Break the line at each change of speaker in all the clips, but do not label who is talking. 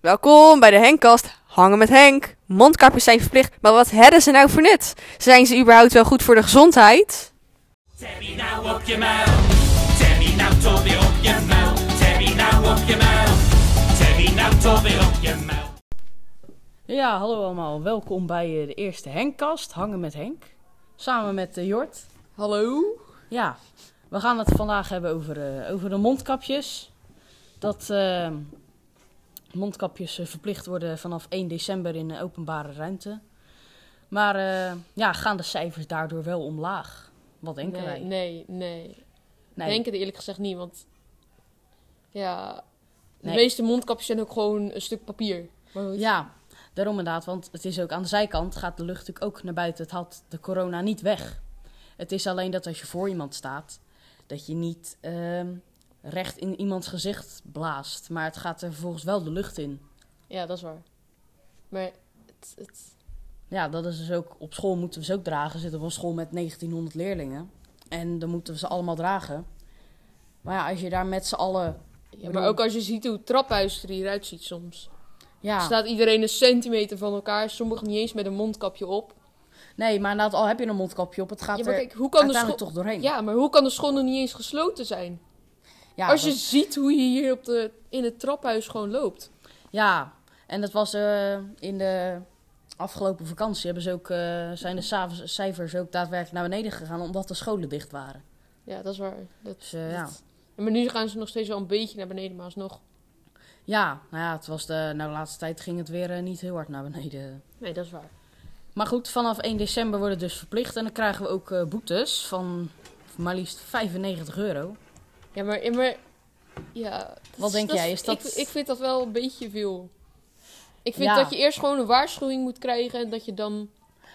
Welkom bij de Henkkast. Hangen met Henk. Mondkapjes zijn verplicht, maar wat hebben ze nou voor nut? Zijn ze überhaupt wel goed voor de gezondheid?
Terry nou op je muil. Terry nou toch weer op je muil. Terry nou op je muil. Terry nou toch weer op je muil.
Ja, hallo allemaal. Welkom bij eh, de eerste Henkkast, Hangen met Henk. Samen met eh, Jort.
Hallo?
Ja, we gaan het vandaag hebben over, eh, over de mondkapjes. Dat eh, mondkapjes eh, verplicht worden vanaf 1 december in eh, openbare ruimte. Maar eh, ja, gaan de cijfers daardoor wel omlaag? Wat denken
nee,
wij?
Nee, nee.
Nee.
Denken het eerlijk gezegd niet, want ja, de
Nee.
meeste mondkapjes zijn ook gewoon een stuk papier. Maar goed.
Ja, daarom inderdaad. Want het is ook aan de zijkant gaat de lucht natuurlijk ook naar buiten. Het haalt de corona niet weg. Het is alleen dat als je voor iemand staat, dat je niet ehm, recht in iemands gezicht blaast. Maar het gaat er vervolgens wel de lucht in.
Ja, dat is waar. Maar het, het,
Ja, dat is dus ook. Op school moeten we ze ook dragen. Zitten we op een school met 1900 leerlingen. En dan moeten we ze allemaal dragen. Maar ja, als je daar met z'n allen.
ja, maar
bedoel-
ook als je ziet hoe het traphuis er hieruit ziet soms.
Ja,
Staat iedereen een centimeter van elkaar, sommigen niet eens met een mondkapje op.
nee, maar inderdaad, al heb je een mondkapje op, het gaat
Ja, maar
er
kijk, hoe kan de
uiteindelijk
school-
toch doorheen.
Ja, maar hoe kan de school nog niet eens gesloten zijn?
Ja,
als je
dat-
ziet hoe je hier op de, in het traphuis gewoon loopt.
Ja, en dat was eh, in de afgelopen vakantie. Hebben ze ook, eh, zijn de cijfers- cijfers ook daadwerkelijk naar beneden gegaan omdat de scholen dicht waren.
Ja, dat is waar. Dat,
Dus eh, ja.
dat- Maar nu gaan ze nog steeds wel een beetje naar beneden, maar alsnog.
ja, nou ja, het was de, nou, de laatste tijd ging het weer eh, niet heel hard naar beneden.
Nee, dat is waar.
Maar goed, vanaf 1 december wordt het dus verplicht. En dan krijgen we ook eh, boetes van maar liefst 95 euro.
Ja, maar... maar ja, dat
Wat denk jij? Is dat-
Ik, ik vind dat wel een beetje veel. Ik vind
Ja.
dat je eerst gewoon een waarschuwing moet krijgen... en dat je dan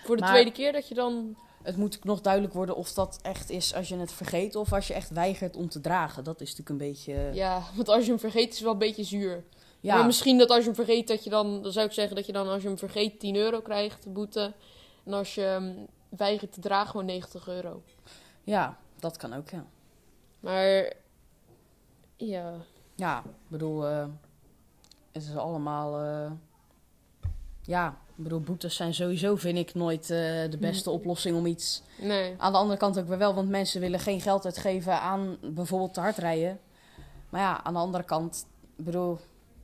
voor de
Maar-
tweede keer dat je dan...
Het moet nog duidelijk worden of dat echt is als je het vergeet of als je echt weigert om te dragen. Dat is natuurlijk een beetje... eh,
Ja, want als je hem vergeet is het wel een beetje zuur.
ja.
Maar misschien dat als je hem vergeet dat je dan... Dan zou ik zeggen dat je dan als je hem vergeet 10 euro krijgt, de boete. En als je ehm, weigert te dragen gewoon 90 euro.
ja, dat kan ook, ja.
Maar... Ja,
Ja, ik bedoel, eh, het is allemaal. eh, ja, ik bedoel, boetes zijn sowieso, vind ik, nooit eh,
Mhm.
de beste oplossing om iets.
nee.
Aan de andere kant ook weer wel, want mensen willen geen geld uitgeven aan bijvoorbeeld te hard rijden. Maar ja, aan de andere kant, ik bedoel,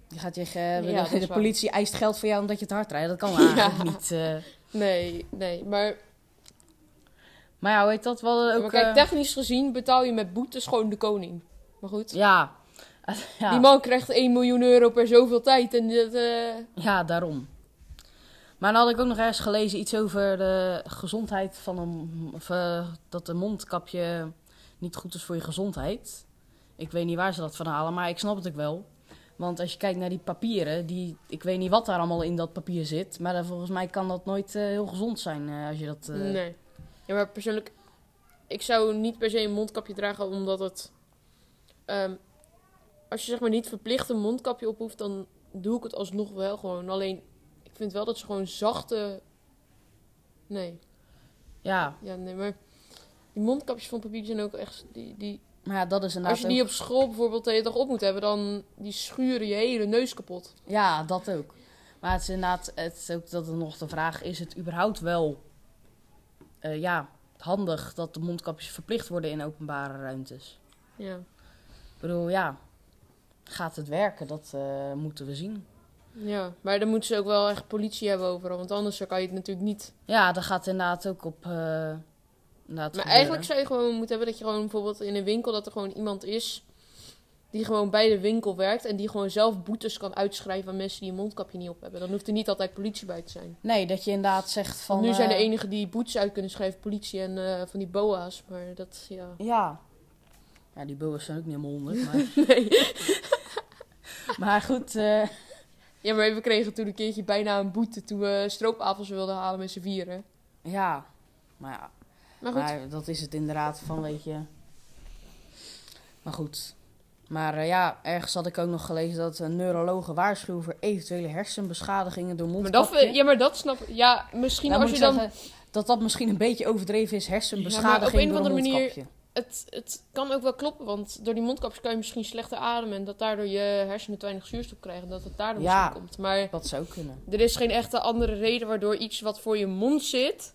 je gaat tegen. eh,
Ja, dat
de
is waar.
politie eist geld voor jou omdat je te hard rijdt. Dat kan eigenlijk niet. eh.
Nee, nee. Maar
maar ja, weet dat wel ook.
maar kijk,
eh,
technisch gezien betaal je met boetes gewoon de koning. Maar goed.
ja. ja.
Die man krijgt 1 miljoen euro per zoveel tijd. En dat, eh,
Ja, daarom. Maar dan had ik ook nog ergens gelezen iets over de gezondheid van een. Of, eh, dat een mondkapje niet goed is voor je gezondheid. Ik weet niet waar ze dat van halen, maar ik snap het ook wel. Want als je kijkt naar die papieren, die, ik weet niet wat daar allemaal in dat papier zit. Maar dan volgens mij kan dat nooit eh, heel gezond zijn eh, als je dat. eh,
Nee. Ja, maar persoonlijk, ik zou niet per se een mondkapje dragen, omdat het... ehm, als je zeg maar niet verplicht een mondkapje op hoeft, dan doe ik het alsnog wel gewoon. Alleen, ik vind wel dat ze gewoon zachte... Nee,
Ja,
ja, nee, maar... Die mondkapjes van papier zijn ook echt... Die, die,
maar ja, dat is inderdaad.
als je die
ook-
op school bijvoorbeeld de hele dag op moet hebben, dan die schuren je hele neus kapot.
Ja, dat ook. Maar het is inderdaad het is ook dat er nog de vraag is: het überhaupt wel eh, ja, handig dat de mondkapjes verplicht worden in openbare ruimtes?
Ja.
Ik bedoel, ja, gaat het werken? Dat eh, moeten we zien.
Ja, maar dan moeten ze ook wel echt politie hebben overal, want anders dan kan je het natuurlijk niet.
Ja, dat gaat inderdaad ook op. eh, inderdaad
Maar
gebeuren.
eigenlijk zou je gewoon moeten hebben dat je gewoon bijvoorbeeld in een winkel dat er gewoon iemand is die gewoon bij de winkel werkt en die gewoon zelf boetes kan uitschrijven aan mensen die een mondkapje niet op hebben. Dan hoeft er niet altijd politie bij te zijn.
Nee, dat je inderdaad zegt van.
Want nu zijn de
eh,
enigen die boetes uit kunnen schrijven politie en eh, van die boa's, maar dat ja.
Ja. Ja, die boers zijn ook niet helemaal honderd. Maar... maar goed, eh,
Ja, maar we kregen toen een keertje bijna een boete toen we stroopwafels wilden halen met z'n vieren.
ja. Maar ja,
Maar goed,
Maar dat is het inderdaad van, weet je. Maar goed. Maar eh, ja, ergens had ik ook nog gelezen dat een neurologen waarschuwen voor eventuele hersenbeschadigingen door
maar
mondkapje.
dat, we- ja, maar dat snap ik. Ja, misschien
Nou,
als
moet
je
ik
dan
zeggen dat dat misschien een beetje overdreven is, hersenbeschadiging
Ja, maar op een
door
of
een
andere manier-
mondkapje.
het, het kan ook wel kloppen, want door die mondkapjes kan je misschien slechter ademen. En dat daardoor je hersenen te weinig zuurstof krijgen. Dat het daardoor
Ja.
misschien komt. Maar
Dat zou kunnen.
er is geen echte andere reden waardoor iets wat voor je mond zit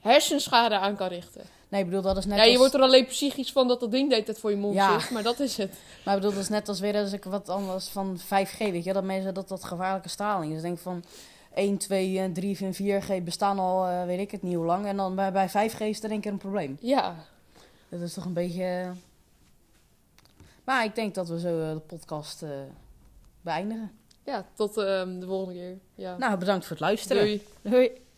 hersenschade aan kan richten.
Nee, ik bedoel, dat is net
ja, je
als...
wordt er alleen psychisch van dat dat ding deed het voor je mond
Ja.
zit, maar dat is het.
Maar ik bedoel, dat is net als weer als ik wat anders van 5G, weet je, dat mensen dat dat gevaarlijke straling is. Ik denk van 1, 2, eh, 3, 4, 4G bestaan al, eh, weet ik het niet hoe lang. En dan bij, bij 5G is er één keer een probleem.
Ja,
Dat is toch een beetje... eh, Maar ik denk dat we zo eh, de podcast eh, beëindigen.
ja tot ehm, de volgende keer. Ja.
Nou, bedankt voor het luisteren.
Doei.
Doei.